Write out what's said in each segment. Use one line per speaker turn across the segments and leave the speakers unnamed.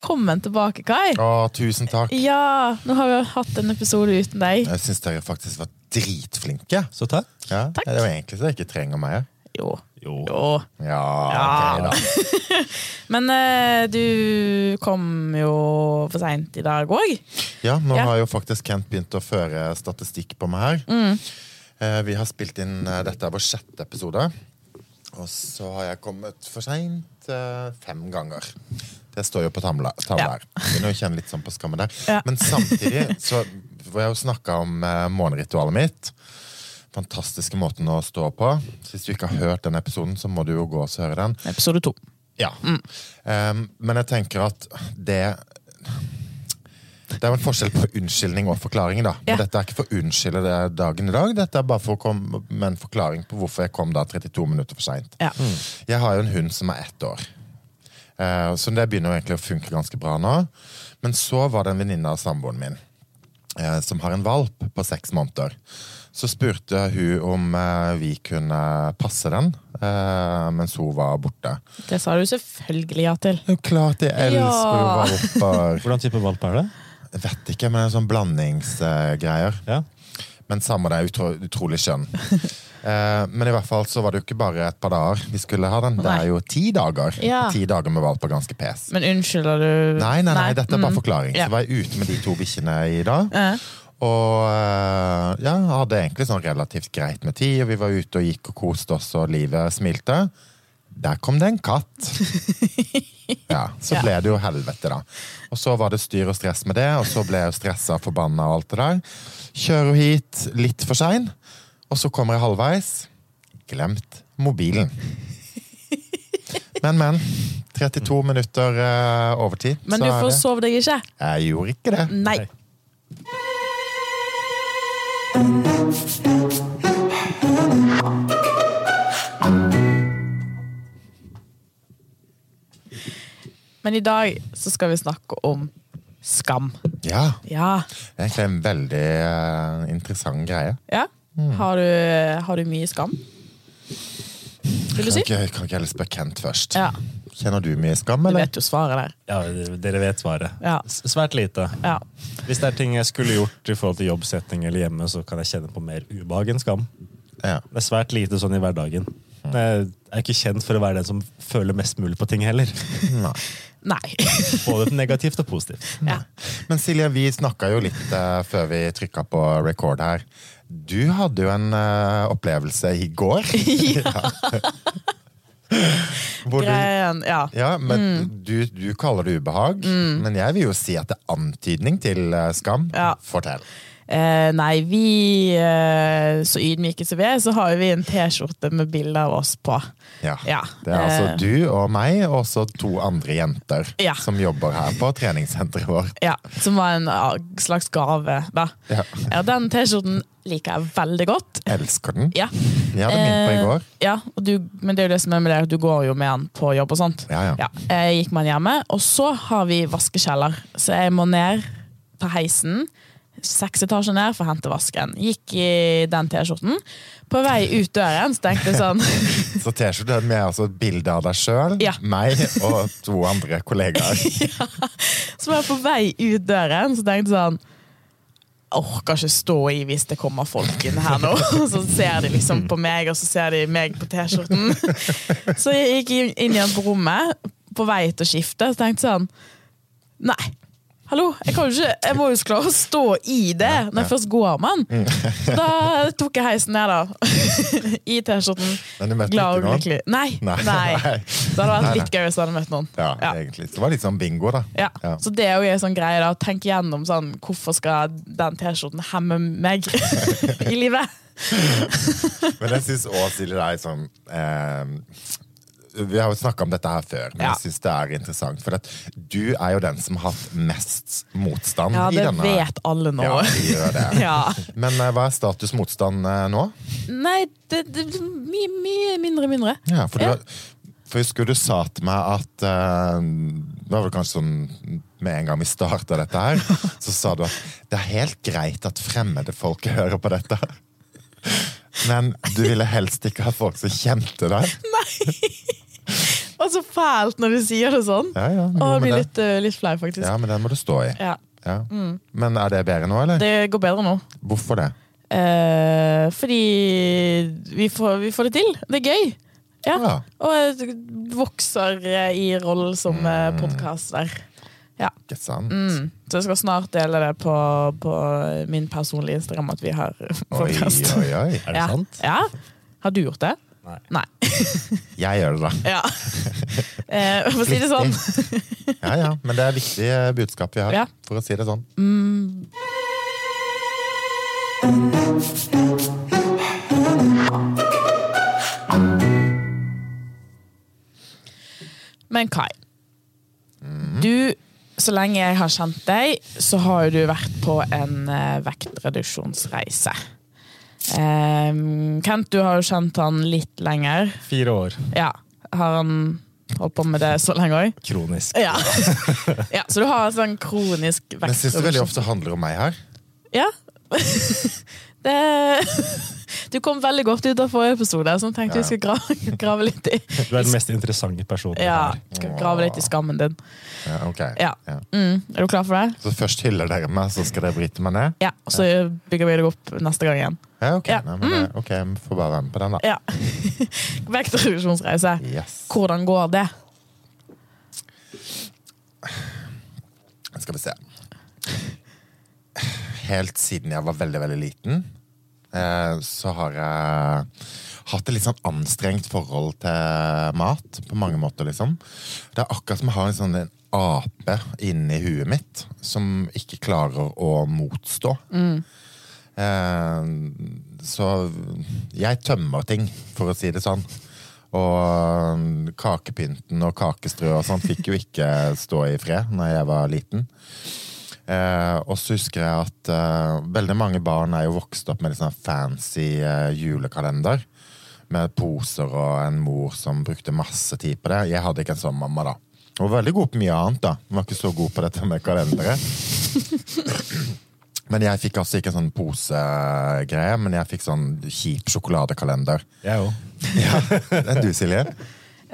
Velkommen tilbake, Kai.
Å, tusen takk.
Ja, nå har vi jo hatt en episode uten deg.
Jeg syns dere faktisk var dritflinke.
Så takk.
Ja,
Takk.
Det er jo egentlig så jeg ikke trenger meg.
Jo.
Jo.
jo.
Ja,
Ja.
ok da.
Men eh, du kom jo for seint i dag òg.
Ja, nå
Ja.
har jo faktisk Kent begynt å føre statistikk på meg her.
Mm.
Eh, Vi har spilt inn eh, Dette er vår sjette episode. Og så har jeg kommet for seint eh, fem ganger. Det står jo på tavla tavla
Ja.
her. Begynner å kjenne litt sånn på skammen der.
Ja.
Men samtidig så får jeg jo snakka om eh, morgenritualet mitt. Fantastiske måten å stå på. Så hvis du ikke har hørt den episoden, så må du jo gå og høre den.
Episode to.
Ja. Um, men jeg tenker at det Det er jo en forskjell på unnskyldning og forklaring. da.
Ja.
Men dette er ikke for å unnskylde det dagen i dag, dette er bare for å komme med en forklaring på hvorfor jeg kom da 32 minutter for seint.
Ja.
Jeg har jo en hund som er ett år. Eh, så det begynner jo egentlig å funke ganske bra nå. Men så var det en venninne av samboeren min eh, som har en valp på seks måneder. Så spurte hun om eh, vi kunne passe den eh, mens hun var borte.
Det sa du selvfølgelig ja til.
Det er jo klart jeg elsker
Ja.
jo valper.
Hvordan type valp er det?
Jeg vet ikke, men det er sånn blandingsgreier.
Ja.
Men samme det, er utro utrolig skjønn. Eh, men i hvert fall så var det jo ikke bare et par dager vi skulle ha den. Det
Nei.
er jo ti dager.
Ja.
Ti dager med valp er ganske pes.
Men unnskylder du Mm.
Nei, nei, nei, dette er bare forklaring.
Ja.
Så var jeg ute med de to bikkjene i dag.
Eh,
Og eh, ja, hadde egentlig sånn relativt greit med tid. Og vi var ute og gikk og koste oss, og livet smilte. Der kom det en katt. Ja, Så
Ja.
ble det jo helvete, da. Og så var det styr og stress med det, og så ble jeg jo stressa og forbanna og alt det der. Kjører hit litt for sein, og så kommer jeg halvveis. Glemt mobilen. Men, men. 32 minutter eh, overtid,
Men du Mm.
så er det.
forsov deg ikke.
Jeg gjorde ikke det.
Nei.
Nei.
Men i dag så skal vi snakke om skam.
Ja,
Ja.
Det er egentlig en veldig eh, interessant greie.
ja.
Mm.
Har, du, har du mye skam? Vil du
Kan
si?
ikke, kan ikke jeg heller spørre Kent først?
Ja.
Kjenner du mye skam,
Du
eller?
vet jo svaret der.
ja, dere vet svaret.
Ja.
S- Svært lite.
Ja.
Hvis det er ting jeg skulle gjort i forhold til jobbsetting eller hjemme, så kan jeg kjenne på mer ubehag enn skam.
Ja.
Det er svært lite sånn i hverdagen. Jeg er ikke kjent for å være den som føler mest mulig på ting heller.
Nei.
Nei.
Både negativt og positivt.
ja.
Men Silje, vi snakka jo litt eh, før vi trykka på record her. Du hadde jo en eh, opplevelse i går. Hvor du,
Greien, ja.
ja, men
Mm.
du, du kaller det ubehag, men jeg vil jo si at det er antydning til eh, skam.
Ja.
Fortell.
Eh, nei, vi, eh, så ydmyke som vi er, så har jo vi en T-skjorte med bilde av oss på.
Ja.
Ja.
Det er altså
Eh.
du og meg og også to andre jenter
Ja.
som jobber her på treningssenteret vårt.
Ja, Som var en ah, slags gave, da.
Ja.
Ja, den T-skjorten liker jeg veldig godt.
Elsker den.
Ja.
Jeg hadde min på i går.
Eh, ja, og du, men det er jo det som er med det, at du går jo med den på jobb og sånt.
Ja, ja.
Jeg gikk med den hjemme, og så har vi vaskekjeller. Så jeg må ned på heisen, seks etasjer ned, for å hente vasken. Gikk i den T-skjorten. På vei ut døren så tenkte jeg sånn
Så T-skjorte med altså et bilde av deg sjøl,
Ja.
meg og to andre kollegaer.
Så var jeg på vei ut døren, så tenkte jeg sånn jeg orker ikke stå i hvis det kommer folk inn her nå. Og Så ser de liksom på meg, og så ser de meg på T-skjorten. Så jeg gikk inn- inn igjen på rommet, på vei til å skifte, så tenkte jeg sånn Nei, hallo, jeg kan jo ikke Jeg må jo klare å stå i det når jeg først går med den.
Mm.
Da tok jeg heisen ned, da. I T-skjorten.
Men du møtte
Glad og
ikke noen?
lykkelig. Nei.
Nei.
nei.
Nei.
Det hadde vært litt gøy hvis jeg hadde møtt noen.
Ja, egentlig. Så det var litt sånn bingo, da.
Ja.
Ja.
Så det er jo en sånn greie da, tenk gjennom sånn, hvorfor skal den T-skjorten hemme meg i livet?
Men jeg syns òg, Silje, det er sånn eh, Vi har jo snakka om dette her før, men
Ja.
jeg syns det er interessant. For at du er jo den som har hatt mest motstand
Ja,
i
det
denne.
vet alle nå.
eh, Ja, vi gjør det.
Ja.
Men eh, hva er status motstand eh, nå?
Nei, det, det blir mye, mye mindre mindre.
Ja, for, du,
Ja.
for jeg husker du sa til meg at eh, Det var vel kanskje sånn med en gang vi starta dette her, så sa du at det er helt greit at fremmede folk hører på dette. Men du ville helst ikke ha folk som kjente deg.
Og så fælt når du sier det sånn.
Ja, ja,
Og
jo,
jeg blir
men,
litt, eh, litt flau,
det,
faktisk.
ja, men den må du stå i.
Ja.
Ja. Men er det bedre nå, eller?
Det går bedre nå.
Hvorfor det?
Eh, fordi vi får, vi får det til. Det er gøy. Ja.
Ja.
Og jeg vokser eh, i rollen som
Mm.
eh, podcaster.
Ikke sant?
Mm. Så jeg skal snart dele det på, på min personlige Instagram at vi har
Oi,
podkast.
oi, oi.
Er det
ja.
sant?
Ja. Har du gjort det?
Nei.
Jeg gjør det, da.
Ja. Eh, for å si det sånn.
Ja, ja. Men det er viktig eh, budskap vi har,
Ja.
for å si det sånn.
Men Kai,
Mhm.
du, så lenge jeg har kjent deg, så har jo du vært på en eh, vektreduksjonsreise. Eh, Kent, du har jo kjent han litt lenger.
Fire år.
Ja, Har han holdt på med det så lenge òg?
Kronisk.
Ja. ja. Så du har en sånn kronisk vektreduksjon.
Men jeg syns det veldig ofte handler om meg her.
Ja. det Du kom veldig godt ut av forrige episode, så jeg tenkte
Ja,
vi skulle grave, grave litt i
Du er den mest interessante personen
ja,
her.
skal grave litt i skammen din.
Ja, ok.
Ja.
Ja.
Mm. Er du klar for det?
Så først hyller dere meg, så skal dere bryte meg ned?
Ja, og så bygger vi deg opp neste gang igjen.
Ja, ok.
Ja.
Nei, men det, ok, vi får bare være med på den, da.
Ja. Vektreduksjonsreise.
Yes.
Hvordan går det?
Skal vi se. Helt siden jeg var veldig, veldig liten, eh, så har jeg hatt et litt sånn anstrengt forhold til mat på mange måter, liksom. Det er akkurat som jeg har en sånn en ape inni huet mitt som ikke klarer å motstå. Eh, så jeg tømmer ting, for å si det sånn. Og kakepynten og kakestrø og sånn fikk jo ikke stå i fred når jeg var liten. Eh, og så husker jeg at eh, veldig mange barn er jo vokst opp med litt sånn fancy eh, julekalender. Med poser og en mor som brukte masse tid på det. Jeg hadde ikke en sånn mamma, da. Hun var veldig god på mye annet, da. Hun var ikke så god på dette med kalendere. Men jeg fikk altså ikke en sånn posegreie, men jeg fikk sånn kjip sjokoladekalender.
Jeg òg.
Det er du, Silje.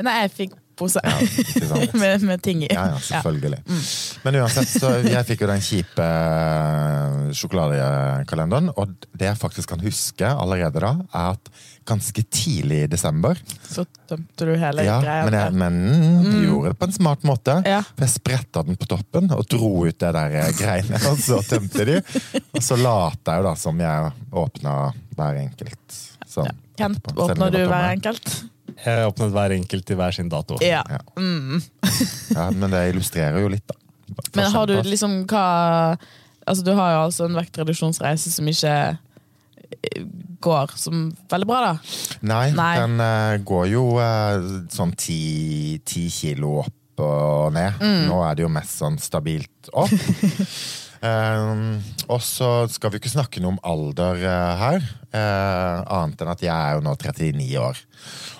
Nei, jeg fikk pose
Ja, ikke sant.
med, med ting i.
Ja, ja, selvfølgelig. Men uansett, så jeg fikk jo den kjipe eh, sjokoladekalenderen, og det jeg faktisk kan huske allerede da, er at ganske tidlig i desember,
Så tømte du hele
ja,
greia.
men jeg men, gjorde det på en smart måte,
altså. Mm. Ja.
for jeg spretta den på toppen og dro ut det der eh, greiene, og så tømte de. Og så lata jeg jo da som jeg åpna hver enkelt. Sånn.
Kent,
etterpå, selv om
åpner du
jeg var
hver
tomme.
enkelt?
Jeg har åpnet hver enkelt i hver sin dato.
Ja. Mm.
Ja. Ja, men det illustrerer jo litt, da. Sånn,
Men har du
Forskjellen på oss.
liksom hva Altså, du har jo altså en vektreduksjonsreise som ikke eh, går som veldig bra, da.
Nei,
Nei.
den eh, går jo eh, sånn ti, ti kilo opp og ned. Nå er det jo mest sånn stabilt opp. Ehm, og så skal vi ikke snakke noe om alder eh, her, eh, annet enn at jeg er jo nå 39 år.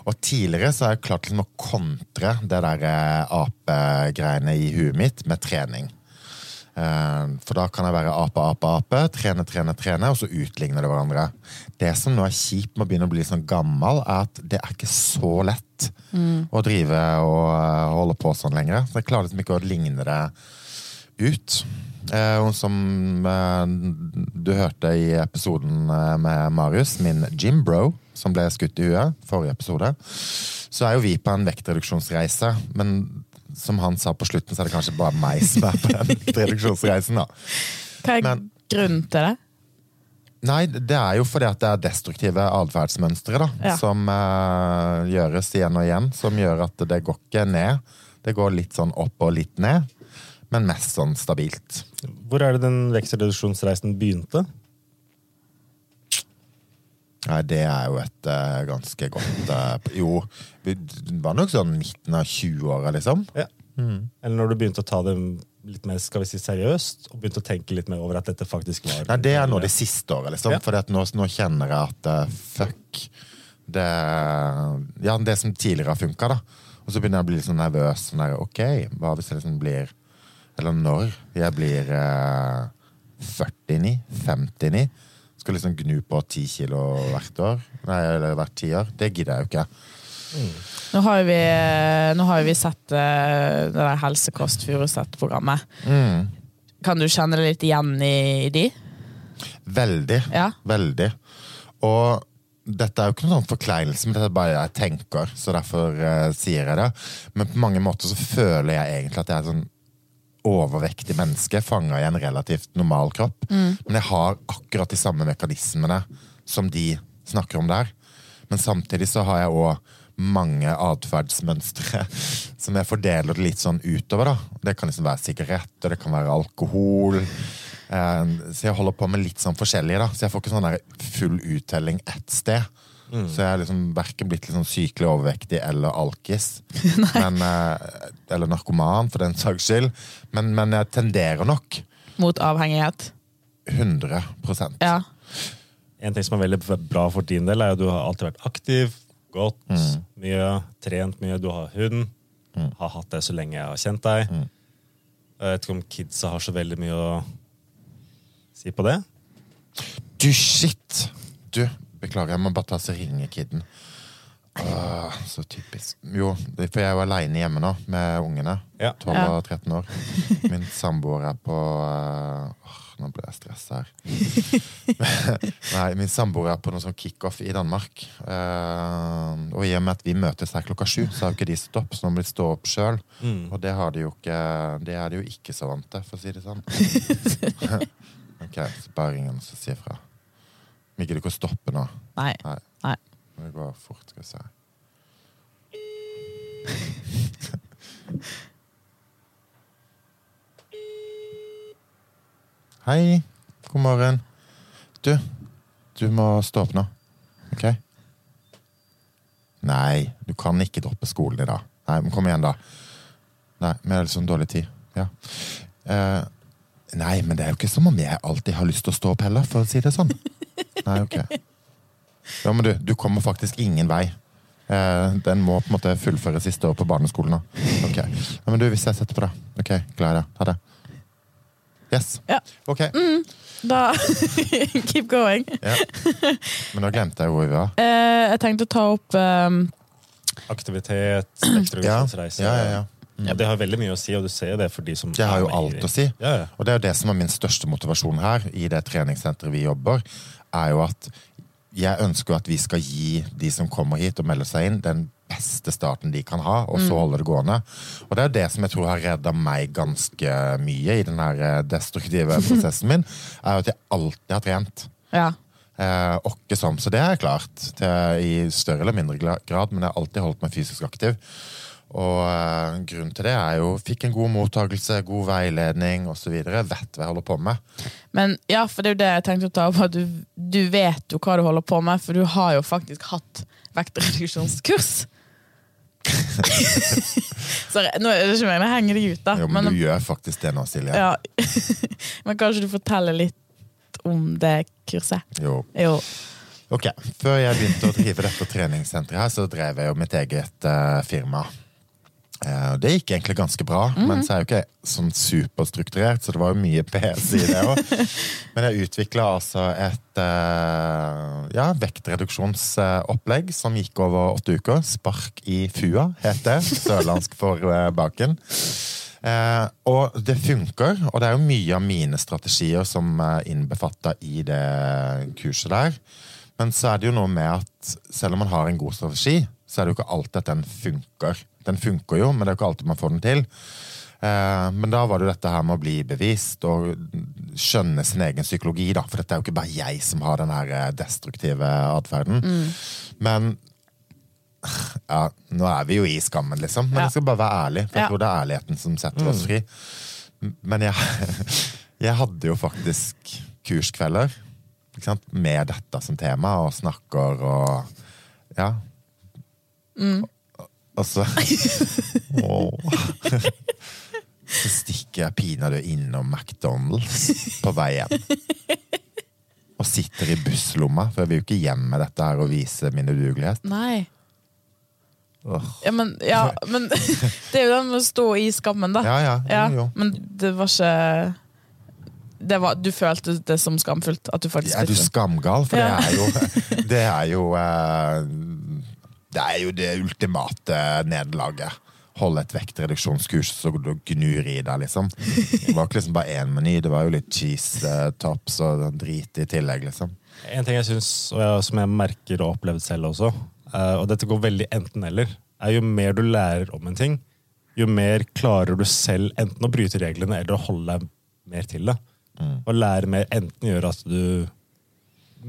Og tidligere så har jeg klart liksom å kontre det der eh, apegreiene i huet mitt med trening. Eh, For da kan jeg være ape, ape, ape, trene, trene, trene, og så utligner det hverandre. Det som nå er kjipt med å begynne å bli sånn gammel, er at det er ikke så lett å drive og eh, holde på sånn lenger. Så jeg klarer liksom ikke å ligne det ut. Eh, og som eh, du hørte i episoden eh, med Marius, min gymbro, som ble skutt i huet forrige episode, så er jo vi på en vektreduksjonsreise. Men som han sa på slutten, så er det kanskje bare meg som er på den vektreduksjonsreisen. da.
Hva er
Men-
grunnen til det?
Nei, det er jo fordi at det er destruktive atferdsmønstre da,
Ja.
som eh, gjøres igjen og igjen, som gjør at det går ikke ned. Det går litt sånn opp og litt ned, men mest sånn stabilt.
Hvor er det den vekstreduksjonsreisen begynte?
Nei, det er jo et eh, ganske godt eh, Jo, vi det var nok sånn midten av 20-åra, liksom.
Ja. Eller når du begynte å ta det litt mer skal vi si, seriøst, og begynte å tenke litt mer over at dette faktisk var
Nei, det er nå det siste året, liksom.
Ja.
For nå, nå kjenner jeg at eh, fuck det, ja, det som tidligere har funka, da. Og så begynner jeg å bli litt sånn nervøs. Sånn der, ok, hva hvis jeg liksom blir Eller når jeg blir eh, 49? 59? Skal liksom gnu på 10 kilo hvert år? Nei, eller hvert tiår? Det gidder jeg jo ikke.
Nå har jo vi, nå har jo vi sett eh, det der Helsekost Furuset-programmet. Kan du kjenne deg litt igjen i, i de?
Veldig.
Ja.
Veldig. Og dette er jo ikke noen sånn forkleinelse, men dette er bare jeg tenker, så derfor eh, sier jeg det. Men på mange måter så føler jeg egentlig at jeg er et sånn overvektig menneske fanga i en relativt normal kropp. Men jeg har akkurat de samme mekanismene som de snakker om der. Men samtidig så har jeg òg mange atferdsmønstre som jeg fordeler det litt sånn utover. da. Det kan liksom være sigarett, og det kan være alkohol. Eh, Så jeg holder på med litt sånn forskjellige, da. Så jeg får ikke sånn der full uttelling ett sted. Så jeg har liksom verken blitt liksom sykelig overvektig eller alkis. men, eh, eller narkoman, for den saks skyld. Men, men jeg tenderer nok
Mot avhengighet?
100
Ja.
En ting som er veldig bra for din del, er at du har alltid vært aktiv, gått
Mm.
mye, trent mye. Du har hund. Har hatt det så lenge jeg har kjent deg.
Mm.
Jeg vet ikke om kidsa har så veldig mye å si på det.
Du, shit! Du, beklager, jeg må bare ta så ringe kidden. Åh, så typisk. Jo, det- for jeg er jo aleine hjemme nå med ungene.
Ja.
12 og 13 år. Min samboer er på eh, åh, Nå ble jeg stressa her. Nei, min samboer er på noe sånn kickoff i Danmark. Eh, og i og med at vi møtes her klokka sju, så har jo ikke de stopp, så nå må de stå opp sjøl.
Mm.
Og det har de jo ikke Det er de jo ikke så vant til, for å si det sånn. ok, så bare ring han og så si ifra. Vi gidder ikke å stoppe nå.
Nei.
Nei.
Nei.
Det går fort, skal vi se. Hei. God morgen. Du, du må stå opp nå. OK? Nei, du kan ikke droppe skolen i dag. Nei, men kom igjen, da. Nei, vi har liksom dårlig tid. Ja. Eh, nei, men det er jo ikke som om jeg alltid har lyst til å stå opp heller, for å si det sånn. Nei, ok. Ja, men du, du kommer faktisk ingen vei. Eh, den må på en måte fullføre siste år på barneskolen nå. Ok. Ja, men du, vi ses etterpå, da. Ok, glad i deg. Ha det. Yes.
Ja.
Ok.
Da Keep going.
Ja. Men nå glemte jeg hvor vi var.
Eh, jeg tenkte å ta opp eh,
Aktivitet,
Ja.
ekstravisjonsreise.
Ja, ja, ja.
Det har veldig mye å si, og du ser jo det for de som
Jeg har jo
er med i-
alt å si.
Ja, ja.
Og det er jo det som er min største motivasjon her, i det treningssenteret vi jobber, er jo at jeg ønsker jo at vi skal gi de som kommer hit og melder seg inn, den beste starten de kan ha, og så holde det gående. Og det er jo det som jeg tror har redda meg ganske mye i den her eh, destruktive prosessen min, er jo at jeg alltid har trent.
Ja.
Eh, og ikke sånn, så det er klart til, i større eller mindre gla- grad, men jeg har alltid holdt meg fysisk aktiv. Og eh, grunnen til det er jo fikk en god mottakelse, god veiledning osv. Vet hva jeg holder på med.
Men ja, for det er jo det jeg tenkte å ta opp. At du, du vet jo hva du holder på med, for du har jo faktisk hatt vektreduksjonskurs. Sorry, nå er det ikke meningen å henge deg ut, da.
Jo, men,
men,
du gjør faktisk det nå, Silje.
ja. men kanskje du forteller litt om det kurset?
Jo.
Jo.
Ok, Før jeg begynte å drive dette treningssenteret, her, så drev jeg jo mitt eget eh, firma. Eh, og det gikk egentlig ganske bra, men så er jeg jo ikke sånn superstrukturert, så det var jo mye PS i det òg. Men jeg utvikla altså et eh, ja, vektreduksjonsopplegg som gikk over åtte uker. Spark i fua, het det. Sørlandsk for eh, baken. Eh, og det funker, og det er jo mye av mine strategier som er innbefatta i det kurset der. Men så er det jo noe med at selv om man har en god strategi, så er det jo ikke alltid at den funker. Den funker jo, men det er jo ikke alltid man får den til. Eh, men da var det jo dette her med å bli bevisst og skjønne sin egen psykologi, da. For dette er jo ikke bare jeg som har den her eh, destruktive atferden.
Mm.
Men ja, nå er vi jo i skammen, liksom. Men
Ja.
jeg skal bare være ærlig. For jeg
Ja. Mm.
tror det er ærligheten som setter oss fri. M- Men jeg, jeg hadde jo faktisk kurskvelder ikke sant? med dette som tema, og snakker og Ja.
Mm.
Og så Åh. Så stikker jeg pinadø innom McDonald's på vei hjem. Og sitter i busslomma, for jeg vil jo ikke hjem med dette her og vise min udugelighet.
Nei.
Åh.
Ja, men, ja, men det er jo det med å stå i skammen, da.
Ja, ja.
Ja,
Jo, jo.
men det var ikke det var, Du følte det som skamfullt? At du faktisk
Er du
spiste?
skamgal? For
Ja.
det er jo Det er jo eh, Det er jo det ultimate nederlaget. Holde et vektreduksjonskurs, så du gnur i deg, liksom. Det var ikke liksom bare én meny, det var jo litt cheese eh, tops og drit i tillegg, liksom.
En ting jeg synes, og jeg, som jeg merker og har opplevd selv også, eh, og dette går veldig enten-eller, er jo mer du lærer om en ting, jo mer klarer du selv enten å bryte reglene eller å holde deg mer til det. Å lære mer enten gjør at du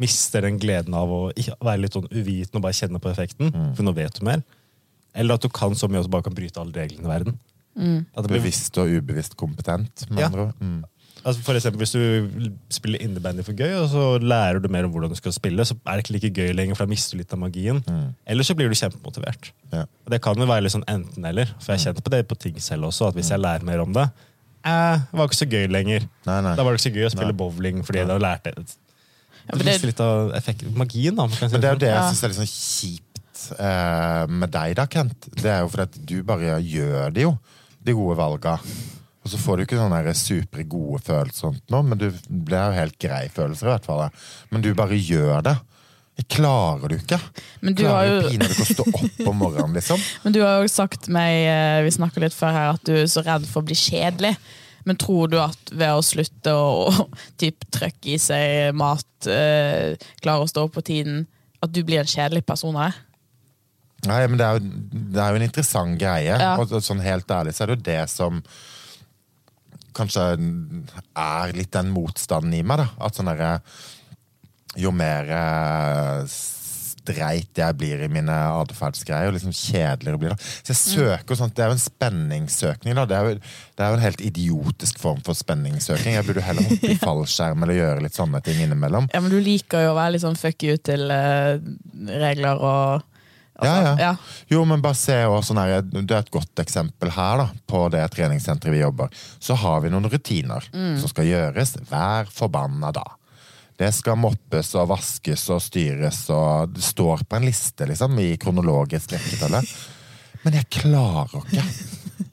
mister den gleden av å ikke- være litt sånn uviten og bare kjenne på effekten, for nå vet du mer. Eller at du kan så mye at du bare kan bryte alle reglene i verden.
Mm.
At det blir
Bevisst og ubevisst kompetent, med
Ja.
andre ord. Mm.
Altså for eksempel hvis du spiller innebandy for gøy, og så lærer du mer om hvordan du skal spille, så er det ikke like gøy lenger, for da mister du litt av magien.
mm.
Eller så blir du kjempemotivert.
Ja.
Og det kan jo være litt sånn enten-eller, for jeg kjente på det på ting selv også, at hvis jeg lærer mer om det, eh, det var ikke så gøy lenger.
Nei, nei.
Da var det ikke så gøy å spille
Nei.
bowling, fordi da lærte jeg det.
Ja,
Du
for
mister
det,
litt av effekt, magien, da. om man Kan si
Men det er jo det jeg
Ja.
syns er litt sånn kjipt eh, med deg, da, Kent. Det er jo fordi at du bare gjør det, jo. De gode valga. Og så får du ikke sånne der supre gode følelser, og sånt nå, men du, det er jo helt grei følelser, i hvert fall. da. Men du bare gjør det. Jeg klarer du ikke.
Men du har
klarer
jo-
jo pinadø ikke å stå opp om morgenen, liksom.
men du har jo sagt meg eh, vi snakket litt før her, at du er så redd for å bli kjedelig. Men tror du at ved å slutte å å typ, trøkke i seg mat, eh, klare å stå opp på tiden, at du blir en kjedelig person av det?
Nei, men det er jo, det er jo en interessant greie.
Ja.
Og så- sånn helt ærlig så er det jo det som kanskje er litt den motstanden i meg, da. At sånn derre Jo mer eh, streit jeg blir i mine atferdsgreier, jo liksom kjedeligere blir det. Så jeg søker sånt. Det er jo en spenningssøkning, da. Det er jo, det er jo en helt idiotisk form for spenningssøking. Jeg burde jo heller hoppe i fallskjerm eller gjøre litt sånne ting innimellom.
Ja, men du liker jo å være litt sånn fuck you til eh, regler og altså,
Ja, ja.
ja.
Jo, men bare se også, sånn her, Det er et godt eksempel her da, på det treningssenteret vi jobber. Så har vi noen rutiner som skal gjøres hver forbanna dag. Det skal moppes og vaskes og styres, og det står på en liste liksom, i kronologisk rekkefølge. Men jeg klarer ikke.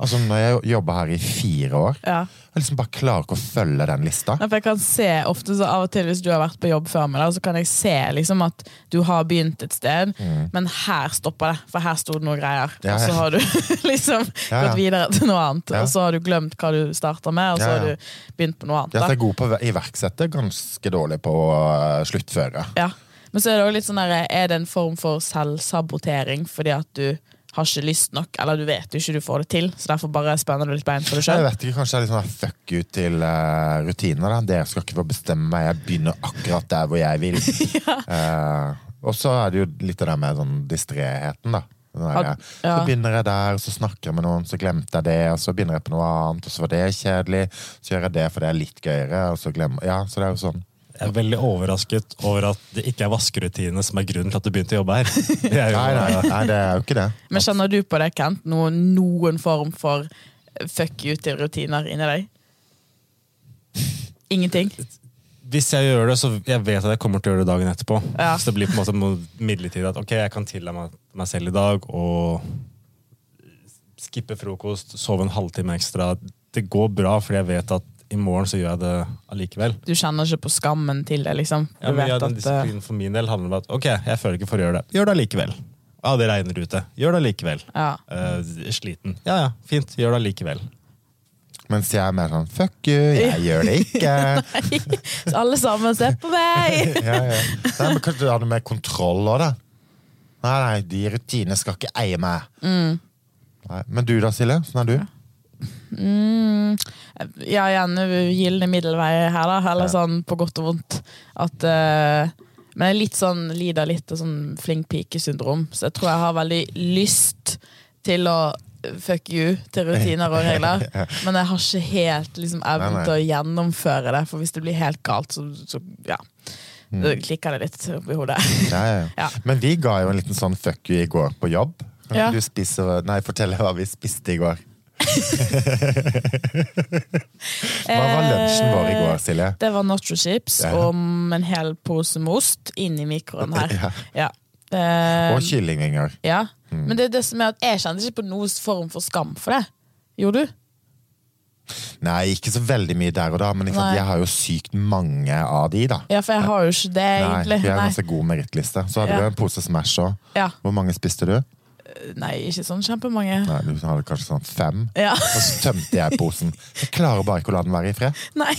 Altså, når jeg jobber her i fire år,
Ja.
jeg liksom bare klarer ikke å følge den lista.
Ja, for jeg kan se ofte så Av og til hvis du har vært på jobb før med det, så kan jeg se liksom at du har begynt et sted, men her stopper det, for her sto det noen greier.
Mm. Ja,
Og så
ja.
har du liksom
Ja, ja.
gått videre til noe annet,
Ja.
og så har du glemt hva du starta med, og så
Ja, ja.
har du begynt på noe
Jeg er
annet. Da.
god på å iverksette, ganske dårlig på å øh, sluttføre.
Ja. Men så er det også litt sånn der, er det en form for selvsabotering fordi at du har ikke lyst nok, eller du vet jo ikke du får det til, så derfor bare spenner du litt bein for deg
Jeg
sjøl.
vet ikke, Kanskje det er litt sånn her fuck you til eh, rutiner. da. Dere skal ikke få bestemme meg. Jeg begynner akkurat der hvor jeg vil. Eh, og så er det jo litt av det med sånn distreheten, da. Den der,
At-
Så
ja.
begynner jeg der, så snakker jeg med noen, så glemte jeg det, og så begynner jeg på noe annet, og så var det kjedelig. Så gjør jeg det for det er litt gøyere, og så glemmer Ja, så det er jo sånn.
Jeg er veldig overrasket over at det ikke er vaskerutinene som er grunnen til at du begynte å jobbe her. Det er jo,
Nei, nei, nei, det er jo ikke det.
Men kjenner du på det, Kent? Noen, noen form for fuck you til rutiner inni deg? Ingenting?
hvis jeg gjør det, så jeg vet at jeg kommer til å gjøre det dagen etterpå.
Ja.
Så det blir på en måte mo- midlertidig at ok, jeg kan tilla meg, meg selv i dag og skippe frokost, sove en halvtime ekstra. Det går bra, fordi jeg vet at i morgen så gjør jeg det allikevel.
Du kjenner ikke på skammen til det, liksom? Du
Ja, men
vet
ja, den
at, eh,
disiplinen for min del handler om at ok, jeg føler ikke for å gjøre det. Gjør det allikevel. Ja, det regner ute. Gjør det allikevel.
ja.
Eh, sliten. Ja, ja, fint. Gjør det allikevel.
Mens jeg er mer sånn fuck you, jeg gjør det ikke.
Så alle sammen, se på meg!
ja, ja. Nei, men kanskje du hadde mer kontroll òg, da. Nei, nei, de rutinene skal ikke eie meg.
Mm.
Nei, men du da, Silje? Sånn er du?
Mm. Ja, igjen gylne middelvei her, da. Eller sånn på godt og vondt. At eh, Men jeg er litt sånn, lider litt av sånn flink pike-syndrom, så jeg tror jeg har veldig lyst til å fuck you til rutiner og regler, men jeg har ikke helt liksom, evnen
Nei, nei.
til å gjennomføre det, for hvis det blir helt galt, så, så ja.
Mm.
Det klikker det litt oppi hodet.
Ja, ja.
Ja.
Men vi ga jo en liten sånn fuck you i går på jobb. Kan
Ja.
ikke du spise, nei, fortelle hva vi spiste i går. Hva var
Eh,
lunsjen vår i går, Silje?
Det var nacho chips
Ja.
om en hel pose med ost inn i mikroen her.
Ja. Mm.
Ja. Eh,
Og kyllingvinger.
ja. Men det er det som er at jeg kjente ikke på noen form for skam for det. Gjorde du?
Nei, ikke så veldig mye der og da, men ikke sant,
Nei.
jeg har jo sykt mange av de, da.
Ja, for jeg har jo ikke det,
Nei,
egentlig.
vi har
Nei,
ganske god merittliste. Så hadde
Ja.
du en pose Smash òg.
ja.
Hvor mange spiste du?
Nei ikke sånn kjempemange.
Nei, Du hadde kanskje sånn fem.
Ja.
Og så tømte jeg posen. Jeg klarer bare ikke å la den være i fred.
Nei.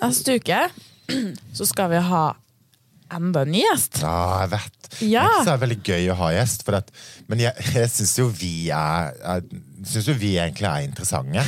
Neste uke så skal vi ha enda en ny gjest.
Ja, jeg vet.
Ja.
Det er ikke så veldig gøy å ha gjest, for at, men jeg, jeg syns jo vi er jeg synes jo vi egentlig er interessante.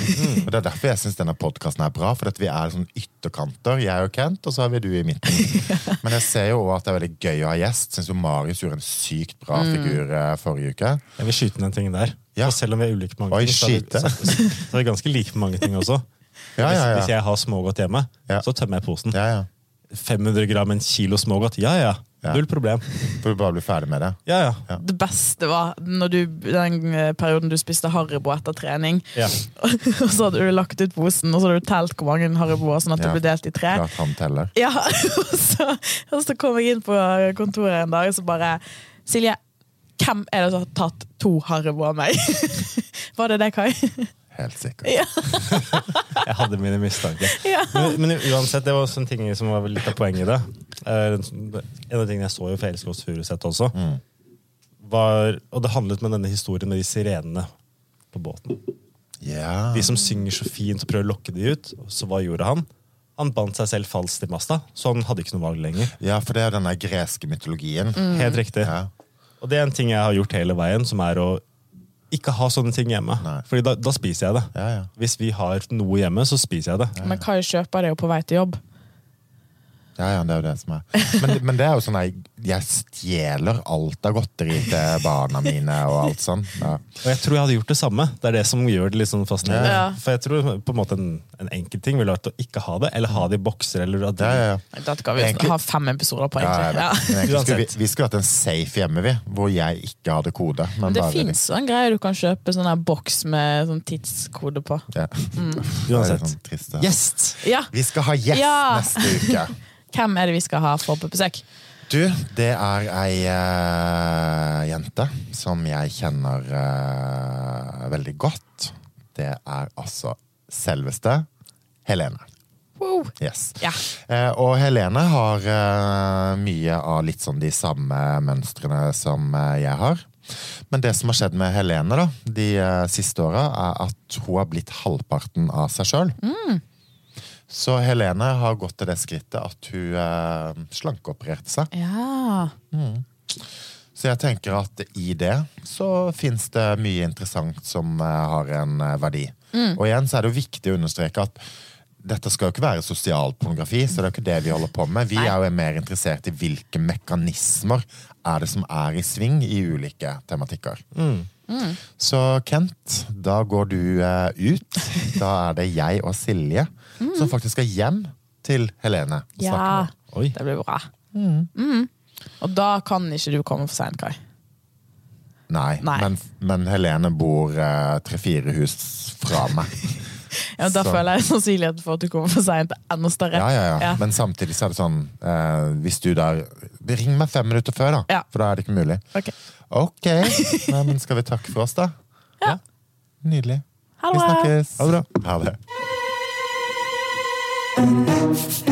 Og Det er derfor jeg syns denne podkasten er bra, for at vi er sånn ytterkanter. Jeg og Kent, og så har vi du i midten. Men jeg ser jo også at det er veldig gøy å ha gjest. Syns jo Marius gjorde en sykt bra figur eh, forrige uke.
Jeg vil skyte den tingen der.
Ja.
Og selv om vi er ulike på mange
Oi,
ting, så er,
skyte.
vi, så, så er vi ganske like på mange ting også.
Ja, ja,
Hvis,
ja.
hvis jeg har smågodt hjemme,
Ja.
så tømmer jeg posen.
Ja, ja.
500 gram, en kilo smågodt. Ja, ja.
Ja.
Null problem.
Får du bare bli ferdig med det.
Ja, ja.
Ja.
Det beste var når du, den eh, perioden du spiste Haribo etter trening.
Ja.
Og så hadde du lagt ut posen, og så hadde du telt hvor mange Hariboer, sånn at
Ja.
det ble delt i tre.
Klart han teller.
Ja, og så, og så kom jeg inn på kontoret en dag og så bare Silje, hvem er det som har tatt to Haribo av meg? Var det det, Kai?
Helt sikkert.
Ja.
Jeg hadde mine mistanker.
Ja.
Men, men uansett, det var også en ting som var vel litt av poenget i det. Eh, En av tingene jeg så jo for Elskås Furuseth også,
Mm.
var, og det handlet med denne historien med de sirenene på båten.
Ja.
De som synger så fint og prøver å lokke de ut. Så hva gjorde han? Han bandt seg selv falskt i masta, så han hadde ikke noe valg lenger.
ja, for det er jo denne greske mytologien.
Helt riktig.
Mm. Ja.
Og det er en ting jeg har gjort hele veien, som er å ikke ha sånne ting hjemme.
Nei.
Fordi da, da spiser jeg det.
Ja, ja.
Hvis vi har noe hjemme, så spiser jeg det.
Men Kai kjøper det jo på vei til jobb.
Ja, ja, det er jo det som er. Men, men det er jo sånn jeg, jeg stjeler alt av godteri til barna mine og alt sånn. Ja.
Og jeg tror jeg hadde gjort det samme. Det er det som gjør det litt sånn fascinerende.
Ja.
For jeg tror på en måte en, en enkel ting ville vært å ikke ha det, eller ha det i bokser. Eller at
Ja, ja, ja.
Dette skal vi
Egentlig-
ha fem episoder på,
Ja, jeg
egentlig.
vet.
Ja,
Men egentlig skulle vi,
Uansett.
vi skulle hatt en safe hjemme, vi, hvor jeg ikke hadde kode. Men
Det
bare de-
fins en greie du kan kjøpe sånn her boks med sånn tidskode på.
liksom, Ja.
Mm.
Det er
Uansett.
sånn trist, det.
Gjest!
Ja,
Vi skal ha gjest
Ja.
neste uke.
Hvem er det vi skal ha for på besøk?
Du, det er ei eh, jente som jeg kjenner eh, veldig godt. Det er altså selveste Helene.
Wow.
Yes.
Ja.
Eh, og Helene har eh, mye av litt sånn de samme mønstrene som eh, jeg har. Men det som har skjedd med Helene da, de eh, siste åra, er at hun har blitt halvparten av seg sjøl. Så Helene har gått til det skrittet at hun eh, slankeopererte seg.
ja.
Så jeg tenker at i det så fins det mye interessant som eh, har en eh, verdi.
Mm.
Og igjen så er det jo viktig å understreke at dette skal jo ikke være sosialpornografi, så det er jo ikke det vi holder på med. Vi
Nei.
er jo mer interessert i hvilke mekanismer er det som er i sving i ulike tematikker.
Mm.
Så Kent, da går du eh, ut. Da er det jeg og Silje som faktisk skal hjem til Helene. og snakke med
Mm. ja.
henne.
Oi.
Det blir bra. Mm. Og da kan ikke du komme for seint, Kai.
Nei,
Nei.
Men, men Helene bor eh, tre-fire hus fra meg.
Ja, da
Så-
føler jeg sannsynligheten for at du kommer for seint, er enda større.
Ja, ja, ja.
Ja.
Men samtidig så er det sånn eh, Hvis du da Ring meg fem minutter før, da.
Ja.
For da er det ikke mulig.
Ok.
Ok. Nei, men skal vi takke for oss, da?
Ja.
Nydelig.
Ha
Vi
det bra.
snakkes.
Ha det bra.
Ha det.